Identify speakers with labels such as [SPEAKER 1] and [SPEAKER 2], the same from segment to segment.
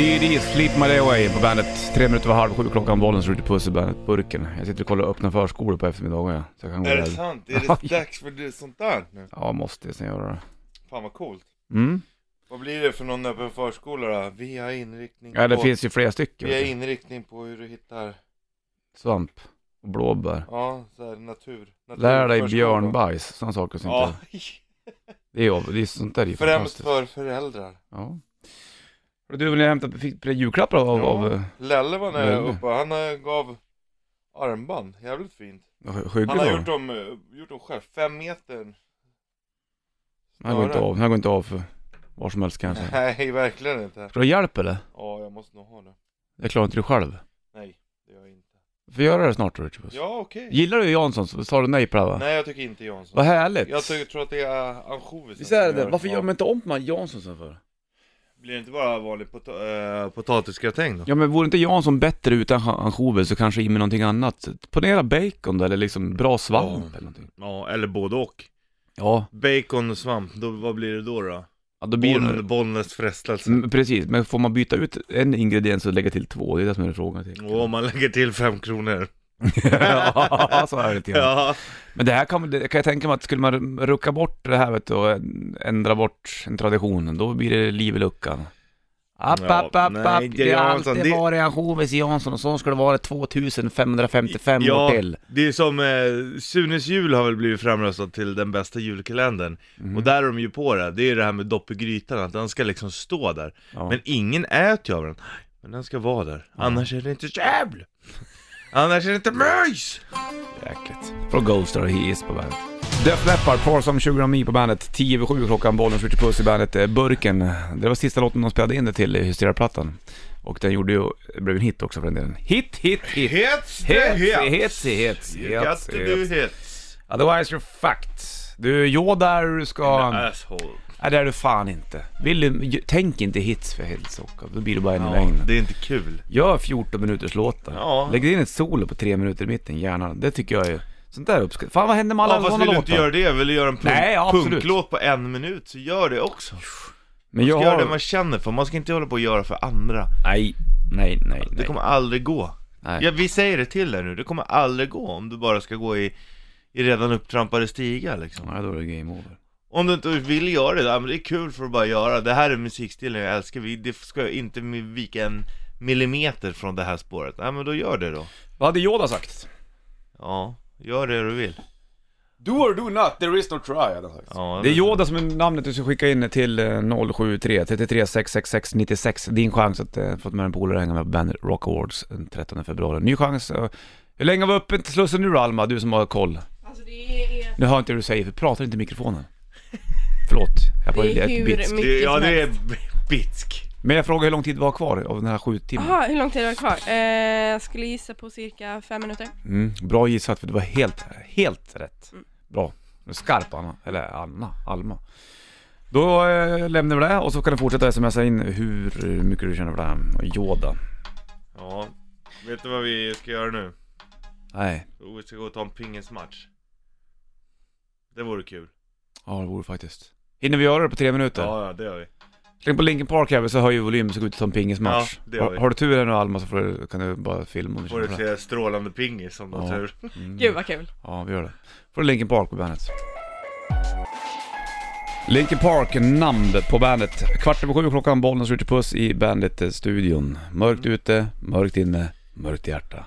[SPEAKER 1] Bee, Sleep My Day Away på bandet. Tre minuter över halv sju klockan, Bollens Ritchie Puss i bandet, burken. Jag sitter och kollar öppna förskolor på eftermiddagen. ja. Så jag kan gå
[SPEAKER 2] Är det
[SPEAKER 1] där.
[SPEAKER 2] sant? Är det dags för det- sånt där nu?
[SPEAKER 1] Ja, måste jag sen göra det.
[SPEAKER 2] Fan vad coolt.
[SPEAKER 1] Mm.
[SPEAKER 2] Vad blir det för någon öppen förskola då? Vi har inriktning
[SPEAKER 1] Ja, det
[SPEAKER 2] på...
[SPEAKER 1] finns ju flera stycken.
[SPEAKER 2] Vi har
[SPEAKER 1] vet du.
[SPEAKER 2] inriktning på hur du hittar,
[SPEAKER 1] Svamp och blåbär.
[SPEAKER 2] ja, så här natur. natur
[SPEAKER 1] Lär dig
[SPEAKER 2] förskola.
[SPEAKER 1] björnbajs, sådana saker. Som
[SPEAKER 2] Ja,
[SPEAKER 1] inte... Det är jobb, det är sånt där är ju
[SPEAKER 2] främst
[SPEAKER 1] fantastiskt.
[SPEAKER 2] för föräldrar.
[SPEAKER 1] Ja. Hörru Du, vill jag hämta fick julklappar av,
[SPEAKER 2] Ja.
[SPEAKER 1] av eh,
[SPEAKER 2] Lelle var när
[SPEAKER 1] Lelle.
[SPEAKER 2] uppe, han eh, gav armband, jävligt fint.
[SPEAKER 1] Sk-
[SPEAKER 2] Han
[SPEAKER 1] Skygge
[SPEAKER 2] har
[SPEAKER 1] då?
[SPEAKER 2] gjort dem, eh, gjort dem själv, fem meter.
[SPEAKER 1] Den här går inte
[SPEAKER 2] snarare.
[SPEAKER 1] av, den här går inte av för var som helst kanske.
[SPEAKER 2] Nej, verkligen inte.
[SPEAKER 1] Ska du ha hjälp eller?
[SPEAKER 2] Ja, jag måste nog ha det.
[SPEAKER 1] Jag klarar inte det själv.
[SPEAKER 2] Nej, det gör jag inte.
[SPEAKER 1] Får jag göra det snart Richard Puss?
[SPEAKER 2] Ja, okej.
[SPEAKER 1] Gillar du Jansson så sa du nej på det här, va?
[SPEAKER 2] Nej, jag tycker inte Jansson.
[SPEAKER 1] Vad härligt!
[SPEAKER 2] Jag tycker, tror att det är ansjovisen
[SPEAKER 1] Visst är det
[SPEAKER 2] som
[SPEAKER 1] det? Varför
[SPEAKER 2] Ja.
[SPEAKER 1] gör man inte om man Jansson sen för?
[SPEAKER 2] Blir det inte bara vanlig pota- eh, potatisgratäng då?
[SPEAKER 1] Ja men vore inte Jansson bättre utan an- ansjovis så kanske i med någonting annat? Ponera bacon då, eller liksom bra svamp
[SPEAKER 2] Ja.
[SPEAKER 1] eller någonting.
[SPEAKER 2] Ja, eller både och.
[SPEAKER 1] Ja,
[SPEAKER 2] Bacon och svamp, då, vad blir det då? då?
[SPEAKER 1] ja då blir det...
[SPEAKER 2] Boll, Bollnäs frestelse.
[SPEAKER 1] Mm, Precis, men får man byta ut en ingrediens och lägga till två? Det är det som är frågan. typ. tycker jag.
[SPEAKER 2] Och om man lägger till fem kronor.
[SPEAKER 1] ja, så är det lite grann.
[SPEAKER 2] Ja.
[SPEAKER 1] Men det här kan, det kan jag tänka mig att skulle man rucka bort det här vet du, och ändra bort en tradition, då blir det liv i luckan. App,
[SPEAKER 2] Ja,
[SPEAKER 1] app, app,
[SPEAKER 2] nej,
[SPEAKER 1] app.
[SPEAKER 2] inte
[SPEAKER 1] Det har
[SPEAKER 2] Jansson,
[SPEAKER 1] alltid
[SPEAKER 2] det-
[SPEAKER 1] varit ansjovis i Jansson och så ska det vara 2555 år till.
[SPEAKER 2] det är som eh, Sunes jul har väl blivit framröstad till den bästa julkalendern.
[SPEAKER 1] Mhm.
[SPEAKER 2] Och där är de ju på det, det är det här med dopp i grytan, att den ska liksom stå där.
[SPEAKER 1] Ja.
[SPEAKER 2] Men ingen äter ju av den. Men den ska vara där, annars är det inte jävl! Annars är det inte möjs!
[SPEAKER 1] Jäkligt. Från Ghost och He Is på bandet. Def Leppard, Pour Some Sugar On Me på bandet. 10 över 7 klockan, bollen skjuter puss i bandet. eh, Burken, det var sista låten de spelade in det till, eh, Hysteria-plattan. Och den gjorde ju, det blev en hit också för den delen. Hit, hit, hit! Hets,
[SPEAKER 2] Hets
[SPEAKER 1] hets, hets, hets, hets.
[SPEAKER 2] hets!
[SPEAKER 1] Otherwise you're fucked. Du, ja där du ska... Nej,
[SPEAKER 2] Asshole.
[SPEAKER 1] det är du fan inte. Vill du, tänk inte hits för helsike, då blir du bara en i
[SPEAKER 2] Ja,
[SPEAKER 1] längden.
[SPEAKER 2] det är inte kul.
[SPEAKER 1] Gör 14 minuters låtar.
[SPEAKER 2] Ja.
[SPEAKER 1] Lägg in ett solo på 3 minuter i mitten, gärna. Det tycker jag är... Sånt där uppskattar Fan vad händer med alla
[SPEAKER 2] Ja, fast
[SPEAKER 1] såna
[SPEAKER 2] vill du
[SPEAKER 1] låtar?
[SPEAKER 2] inte göra det, vill du göra en punk,
[SPEAKER 1] alltså, Nej, ja, absolut.
[SPEAKER 2] punklåt på en minut så gör det också. Man
[SPEAKER 1] Men jag
[SPEAKER 2] ska
[SPEAKER 1] har...
[SPEAKER 2] göra det man känner för, man ska inte hålla på och göra för andra.
[SPEAKER 1] Nej, nej, nej,
[SPEAKER 2] Det
[SPEAKER 1] nej.
[SPEAKER 2] kommer aldrig gå.
[SPEAKER 1] Nej.
[SPEAKER 2] Ja, vi säger det till dig nu, det kommer aldrig gå om du bara ska gå i, i redan upptrampade stigar liksom.
[SPEAKER 1] Nej, då är det game over.
[SPEAKER 2] Om du inte vill göra det, ja, men det är kul för att bara göra. Det här är musikstilen jag älskar, vi, det ska inte vika en millimeter från det här spåret. Nej men då gör det då.
[SPEAKER 1] Vad hade Yoda sagt?
[SPEAKER 2] Ja, gör det du vill.
[SPEAKER 1] Do or do not, there is no try, hade han sagt.
[SPEAKER 2] Ja,
[SPEAKER 1] Det är Yoda som är namnet du ska skicka in till eh, 073 33 666 96. Din chans att eh, få med en polare och hänga med på Bandit Rock Awards den 13 februari. Ny chans. eh, Hur länge var uppe till Slussen nu då, Alma, du som har koll?
[SPEAKER 3] Alltså det är,
[SPEAKER 1] Nu hör inte jag vad du säger, för pratar inte i mikrofonen. Förlåt, jag bara
[SPEAKER 3] det är
[SPEAKER 1] är
[SPEAKER 3] hur
[SPEAKER 1] ett bitsk.
[SPEAKER 3] mycket
[SPEAKER 2] Ja,
[SPEAKER 3] som
[SPEAKER 2] det är
[SPEAKER 3] helst.
[SPEAKER 2] bitsk.
[SPEAKER 1] Men jag frågar hur lång tid var kvar av den här sju timmen?
[SPEAKER 3] Jaha, hur lång tid är det kvar? Eh, jag skulle gissa på cirka fem minuter.
[SPEAKER 1] Mm, bra gissat, för det var helt, helt rätt. Bra. Skarp Anna, eller Anna, Alma. Då eh, lämnar vi det och så kan du fortsätta smsa in hur mycket du känner för det här. Yoda.
[SPEAKER 2] Ja, vet du vad vi ska göra nu?
[SPEAKER 1] Nej,
[SPEAKER 2] Jo, Vi ska gå och ta en pingismatch. Det vore kul.
[SPEAKER 1] ja det vore faktiskt. Hinner vi göra det på tre minuter?
[SPEAKER 2] Ja, ja, det gör vi.
[SPEAKER 1] Släng på Linkin Park här så höjer vi volymen så går vi ut och tar en pingismatch.
[SPEAKER 2] Ja, det gör
[SPEAKER 1] har,
[SPEAKER 2] vi.
[SPEAKER 1] har du tur här nu Alma så får du, kan du bara filma om du
[SPEAKER 2] Får
[SPEAKER 1] känner
[SPEAKER 2] du
[SPEAKER 1] för det.
[SPEAKER 2] se strålande pingis om du har
[SPEAKER 1] Ja.
[SPEAKER 2] tur.
[SPEAKER 1] Mm.
[SPEAKER 3] Gud vad kul.
[SPEAKER 1] Ja, vi gör det. Får du Linkin Park på bandet. Linkin Park, namn på bandet. Kvart över sju klockan, Bollnäs Ritchie Puss i Bandet-studion. Mörkt ute, mörkt inne, mörkt i hjärta.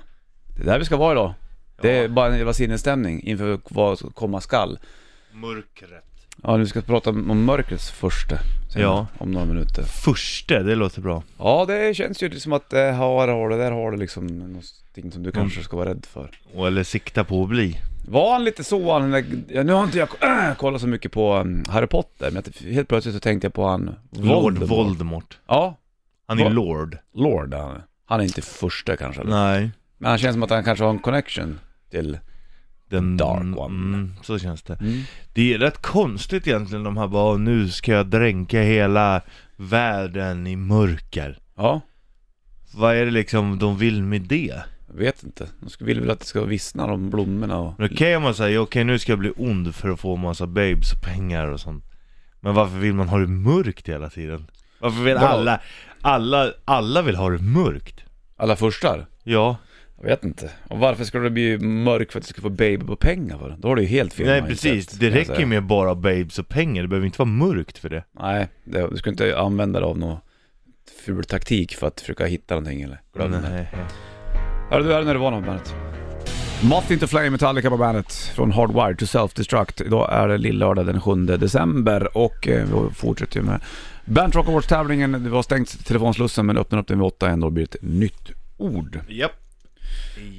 [SPEAKER 1] Det är där vi ska vara idag. Det är bara en jävla sinnesstämning inför vad som komma skall.
[SPEAKER 2] Mörkret.
[SPEAKER 1] Ja, nu ska vi prata om mörkrets första. sen
[SPEAKER 2] Ja.
[SPEAKER 1] Om några minuter.
[SPEAKER 2] Förste, det låter bra.
[SPEAKER 1] Ja, det känns ju som att eh, här har du, där har du liksom någonting som du kanske ska vara rädd för.
[SPEAKER 2] Och eller sikta på att bli.
[SPEAKER 1] Var han lite så, han, den där- ja, nu har inte jag äh, kollat så mycket på um, Harry Potter, men att helt plötsligt så tänkte jag på han
[SPEAKER 2] Lord
[SPEAKER 1] Voldemort.
[SPEAKER 2] Voldemort.
[SPEAKER 1] Ja,
[SPEAKER 2] Han är
[SPEAKER 1] Va-
[SPEAKER 2] Lord.
[SPEAKER 1] Lord han är. Han är inte första kanske, eller?
[SPEAKER 2] Nej.
[SPEAKER 1] men han känns som att han kanske har en connection till...
[SPEAKER 2] Den
[SPEAKER 1] Dark One.
[SPEAKER 2] Mm, så känns det.
[SPEAKER 1] Mm.
[SPEAKER 2] Det är rätt konstigt egentligen de här bara, nu ska jag dränka hela världen i mörker.
[SPEAKER 1] Ja,
[SPEAKER 2] Vad är det liksom de vill med det?
[SPEAKER 1] jag vet inte. De skulle- vill väl att det ska vissna de blommorna och...
[SPEAKER 2] Men Okej om man säger, okej nu ska jag bli ond för att få massa babes och pengar och sånt Men varför vill man ha det mörkt hela tiden? Varför vill
[SPEAKER 1] Ja.
[SPEAKER 2] alla, alla, alla vill ha det mörkt.
[SPEAKER 1] Alla förstar?
[SPEAKER 2] Ja,
[SPEAKER 1] Jag vet inte. Och varför ska det bli mörk för att du ska få baby på pengar för? Då har du ju helt fel
[SPEAKER 2] nej
[SPEAKER 1] mindset,
[SPEAKER 2] precis.
[SPEAKER 1] kan
[SPEAKER 2] Det
[SPEAKER 1] jag
[SPEAKER 2] räcker ju
[SPEAKER 1] säga.
[SPEAKER 2] med bara babes och pengar, det behöver inte vara mörkt för det.
[SPEAKER 1] Nej, det, du ska inte använda dig av någon ful taktik för att försöka hitta någonting eller glömma det.
[SPEAKER 2] Nej.
[SPEAKER 1] Hörru du, är det när du var något bandet? Moth Into Flame Metallica på bandet från Hardwired to Self-Destruct. Idag är det lillördag den 7 december och eh, vi fortsätter ju med Bernt Rock Awards-tävlingen. Det var stängt telefonslussen men öppnar upp den vid 8 igen då blir det ett nytt ord.
[SPEAKER 2] Japp.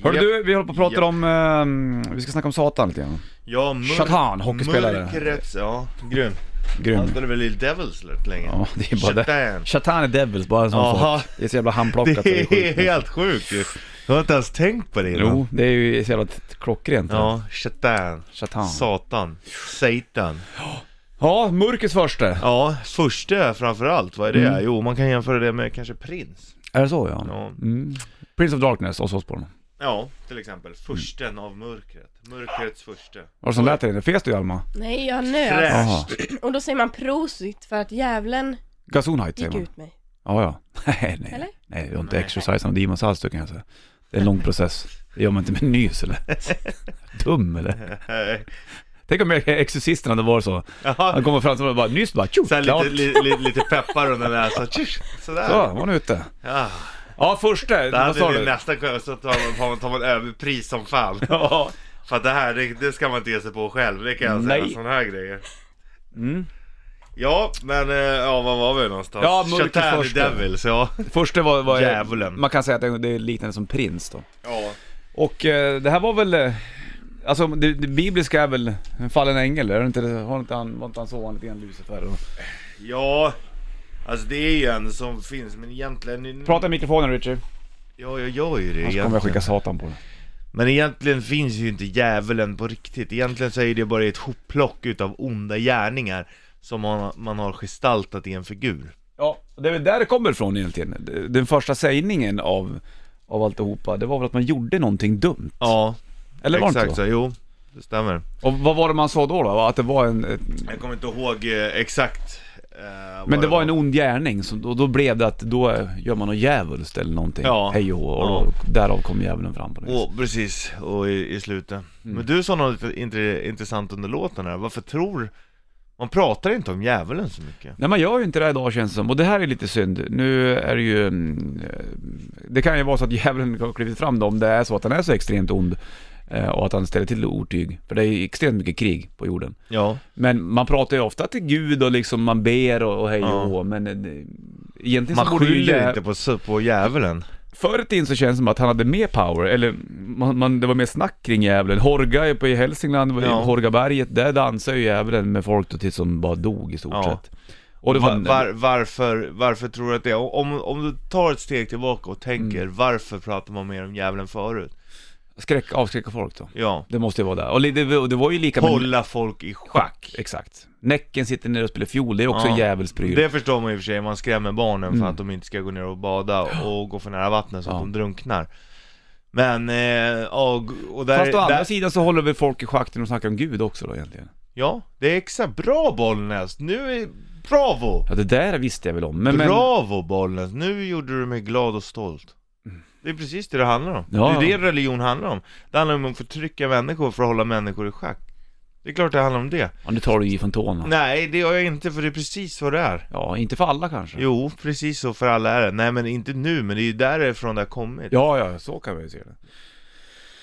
[SPEAKER 1] Hörru
[SPEAKER 2] Japp.
[SPEAKER 1] du, vi håller på och pratar
[SPEAKER 2] Japp.
[SPEAKER 1] om... Eh, vi ska snacka om Satan lite grann.
[SPEAKER 2] Ja, mörk,
[SPEAKER 1] Shatan, hockeyspelare.
[SPEAKER 2] Mörkrets, ja. Grym. Han
[SPEAKER 1] Grym.
[SPEAKER 2] spelade väl Little Devils rätt länge.
[SPEAKER 1] Ja, det är bara det.
[SPEAKER 2] Shatan.
[SPEAKER 1] Shatan är Devils, bara en sån
[SPEAKER 2] Jaha.
[SPEAKER 1] sak. Det är så jävla handplockat. och
[SPEAKER 2] Det är
[SPEAKER 1] sjukt.
[SPEAKER 2] helt sjukt ju. Jag har inte ens tänkt på det innan.
[SPEAKER 1] Jo, det är ju så jävla t- klockrent. Ja.
[SPEAKER 2] Ja, Shatan.
[SPEAKER 1] Shatan.
[SPEAKER 2] Satan. Satan.
[SPEAKER 1] Ja, Mörkets första.
[SPEAKER 2] Ja, första framförallt, vad är det?
[SPEAKER 1] Mm.
[SPEAKER 2] Jo, man kan jämföra det med kanske prins.
[SPEAKER 1] Är det så ja?
[SPEAKER 2] Ja.
[SPEAKER 1] Mm. Prince of Darkness, Ozzy Osbourne.
[SPEAKER 2] Ja, till exempel. Försten av mörkret. Mörkrets första.
[SPEAKER 1] Vad som lät det? Det fes du Alma?
[SPEAKER 4] Nej, jag nös.
[SPEAKER 2] Fräscht.
[SPEAKER 1] Jaha.
[SPEAKER 4] Och då säger man prosit för att djävulen
[SPEAKER 1] Gasonheit säger
[SPEAKER 4] gick
[SPEAKER 1] man.
[SPEAKER 4] ut mig.
[SPEAKER 1] Ja, ja. Nej, nej.
[SPEAKER 4] Eller?
[SPEAKER 1] Nej, du har inte exercise och demons alls du kan jag säga. Det är en lång process. Det gör man inte med nys eller? Dum eller? Tänk om Exorcisten hade varit så.
[SPEAKER 2] Jaha.
[SPEAKER 1] Han kommer fram och bara nyss bara tjo,
[SPEAKER 2] Sen
[SPEAKER 1] klart.
[SPEAKER 2] lite, li, li, lite peppar under näsan. Tjus, Sådär.
[SPEAKER 1] Så, var nu ute.
[SPEAKER 2] Ja.
[SPEAKER 1] Ja, första.
[SPEAKER 2] Det
[SPEAKER 1] Vad sa
[SPEAKER 2] hade vi
[SPEAKER 1] du?
[SPEAKER 2] nästa kväll så tar man, tar man, tar man överpris som fan.
[SPEAKER 1] Ja.
[SPEAKER 2] För att det här, det, det ska man inte ge sig på själv. Det kan jag säga.
[SPEAKER 1] Nej.
[SPEAKER 2] Sån här grejer.
[SPEAKER 1] Mm.
[SPEAKER 2] Ja, men eh, ja, var var vi någonstans?
[SPEAKER 1] Ja, mörkrets
[SPEAKER 2] Shatan i
[SPEAKER 1] första.
[SPEAKER 2] Devils, ja.
[SPEAKER 1] Första var, var
[SPEAKER 2] Djävulen.
[SPEAKER 1] Man kan säga att det- det är liknande som prins då.
[SPEAKER 2] ja.
[SPEAKER 1] Och eh, det här var väl... eh, Alltså det, det bibliska är väl en fallen ängel? Är det inte, det? har inte han, var inte han så han lite grann Lucifer? Och...
[SPEAKER 2] Ja, alltså det är ju en som finns men egentligen...
[SPEAKER 1] Prata i mikrofonen Richie.
[SPEAKER 2] Ja, jag gör ju det
[SPEAKER 1] Annars Alltså, kommer jag skicka satan på dig.
[SPEAKER 2] Men egentligen finns ju inte djävulen på riktigt. Egentligen så är det bara ett hopplock utav onda gärningar som man, man har gestaltat i en figur.
[SPEAKER 1] Ja, och det är väl där det kommer ifrån egentligen. Den första sägningen av, av alltihopa, det var väl att man gjorde någonting dumt?
[SPEAKER 2] Ja,
[SPEAKER 1] Eller var det
[SPEAKER 2] exakt
[SPEAKER 1] inte så?
[SPEAKER 2] så. Jo, det stämmer.
[SPEAKER 1] Och vad var det man sa då? då? Att det var en... ett-
[SPEAKER 2] Jag kommer inte ihåg eh, exakt eh, vad
[SPEAKER 1] Men det var en ond gärning, så då, då blev det att då eh, gör man något djävulskt eller någonting.
[SPEAKER 2] Ja.
[SPEAKER 1] Hej och hå, och
[SPEAKER 2] Ja.
[SPEAKER 1] då, därav kom djävulen fram på det viset.
[SPEAKER 2] Åh, precis, och i, i slutet.
[SPEAKER 1] Mm.
[SPEAKER 2] Men du sa något lite int- intressant under låten här, varför tror... Man pratar inte om djävulen så mycket.
[SPEAKER 1] Nej man gör ju inte det här idag känns det som, och det här är lite synd. Nu är det ju... mm, eh, Det kan ju vara så att djävulen har klivit fram då, om det är så att han är så extremt ond. eh, Och att han ställer till otyg. För det är ju extremt mycket krig på jorden.
[SPEAKER 2] Ja.
[SPEAKER 1] Men man pratar ju ofta till Gud och liksom man ber och, och hej och
[SPEAKER 2] Ja.
[SPEAKER 1] hå, men eh, egentligen
[SPEAKER 2] Man
[SPEAKER 1] så borde ju...
[SPEAKER 2] skyller
[SPEAKER 1] jä-
[SPEAKER 2] inte på, på djävulen.
[SPEAKER 1] Förr i tiden så känns det som att han hade mer power, eller man, man, det var mer snack kring djävulen. Horga är på i Hälsingland, i
[SPEAKER 2] Ja.
[SPEAKER 1] Horgaberget, där dansar ju djävulen med folk då tills de bara dog i stort
[SPEAKER 2] Ja.
[SPEAKER 1] sett. Och det var...
[SPEAKER 2] Va- var, varför, varför tror du att det är? Om, om du tar ett steg tillbaka och tänker,
[SPEAKER 1] Mm.
[SPEAKER 2] varför pratar man mer om djävulen förut?
[SPEAKER 1] skräck, avskräcka folk då.
[SPEAKER 2] Ja,
[SPEAKER 1] Det måste ju vara där. Och li- det, var- det var ju lika
[SPEAKER 2] hålla folk i schack.
[SPEAKER 1] Exakt. Näcken sitter ner och spelar fiol, det är också
[SPEAKER 2] Ja.
[SPEAKER 1] en djävulspryl.
[SPEAKER 2] Det förstår man i och för sig, man skrämmer barnen för att de inte ska gå ner och bada och gå för nära vattnet så att
[SPEAKER 1] Ja.
[SPEAKER 2] de drunknar. Men, eh, ja, och, och där...
[SPEAKER 1] Fast å andra
[SPEAKER 2] där
[SPEAKER 1] sidan så håller väl folk i schack när de snackar om Gud också då egentligen.
[SPEAKER 2] ja, det är exakt. Bra Bollnäs! Nu är... Bravo!
[SPEAKER 1] Ja det där visste jag väl om, men... men-
[SPEAKER 2] Bravo Bollnäs! Nu gjorde du mig glad och stolt. Det är precis det det handlar om.
[SPEAKER 1] Mm. Ja,
[SPEAKER 2] det
[SPEAKER 1] ja.
[SPEAKER 2] är det religion handlar om. Det handlar om att förtrycka människor för att hålla människor i schack. Det är klart det handlar om det.
[SPEAKER 1] Ja, nu tar du i från tårna.
[SPEAKER 2] Nej, det gör jag inte för det är precis vad det är.
[SPEAKER 1] Ja, inte för alla kanske.
[SPEAKER 2] Jo, precis så för alla är det. Nej men inte nu, men det är ju därifrån det har kommit.
[SPEAKER 1] Ja, ja, så kan man ju se det.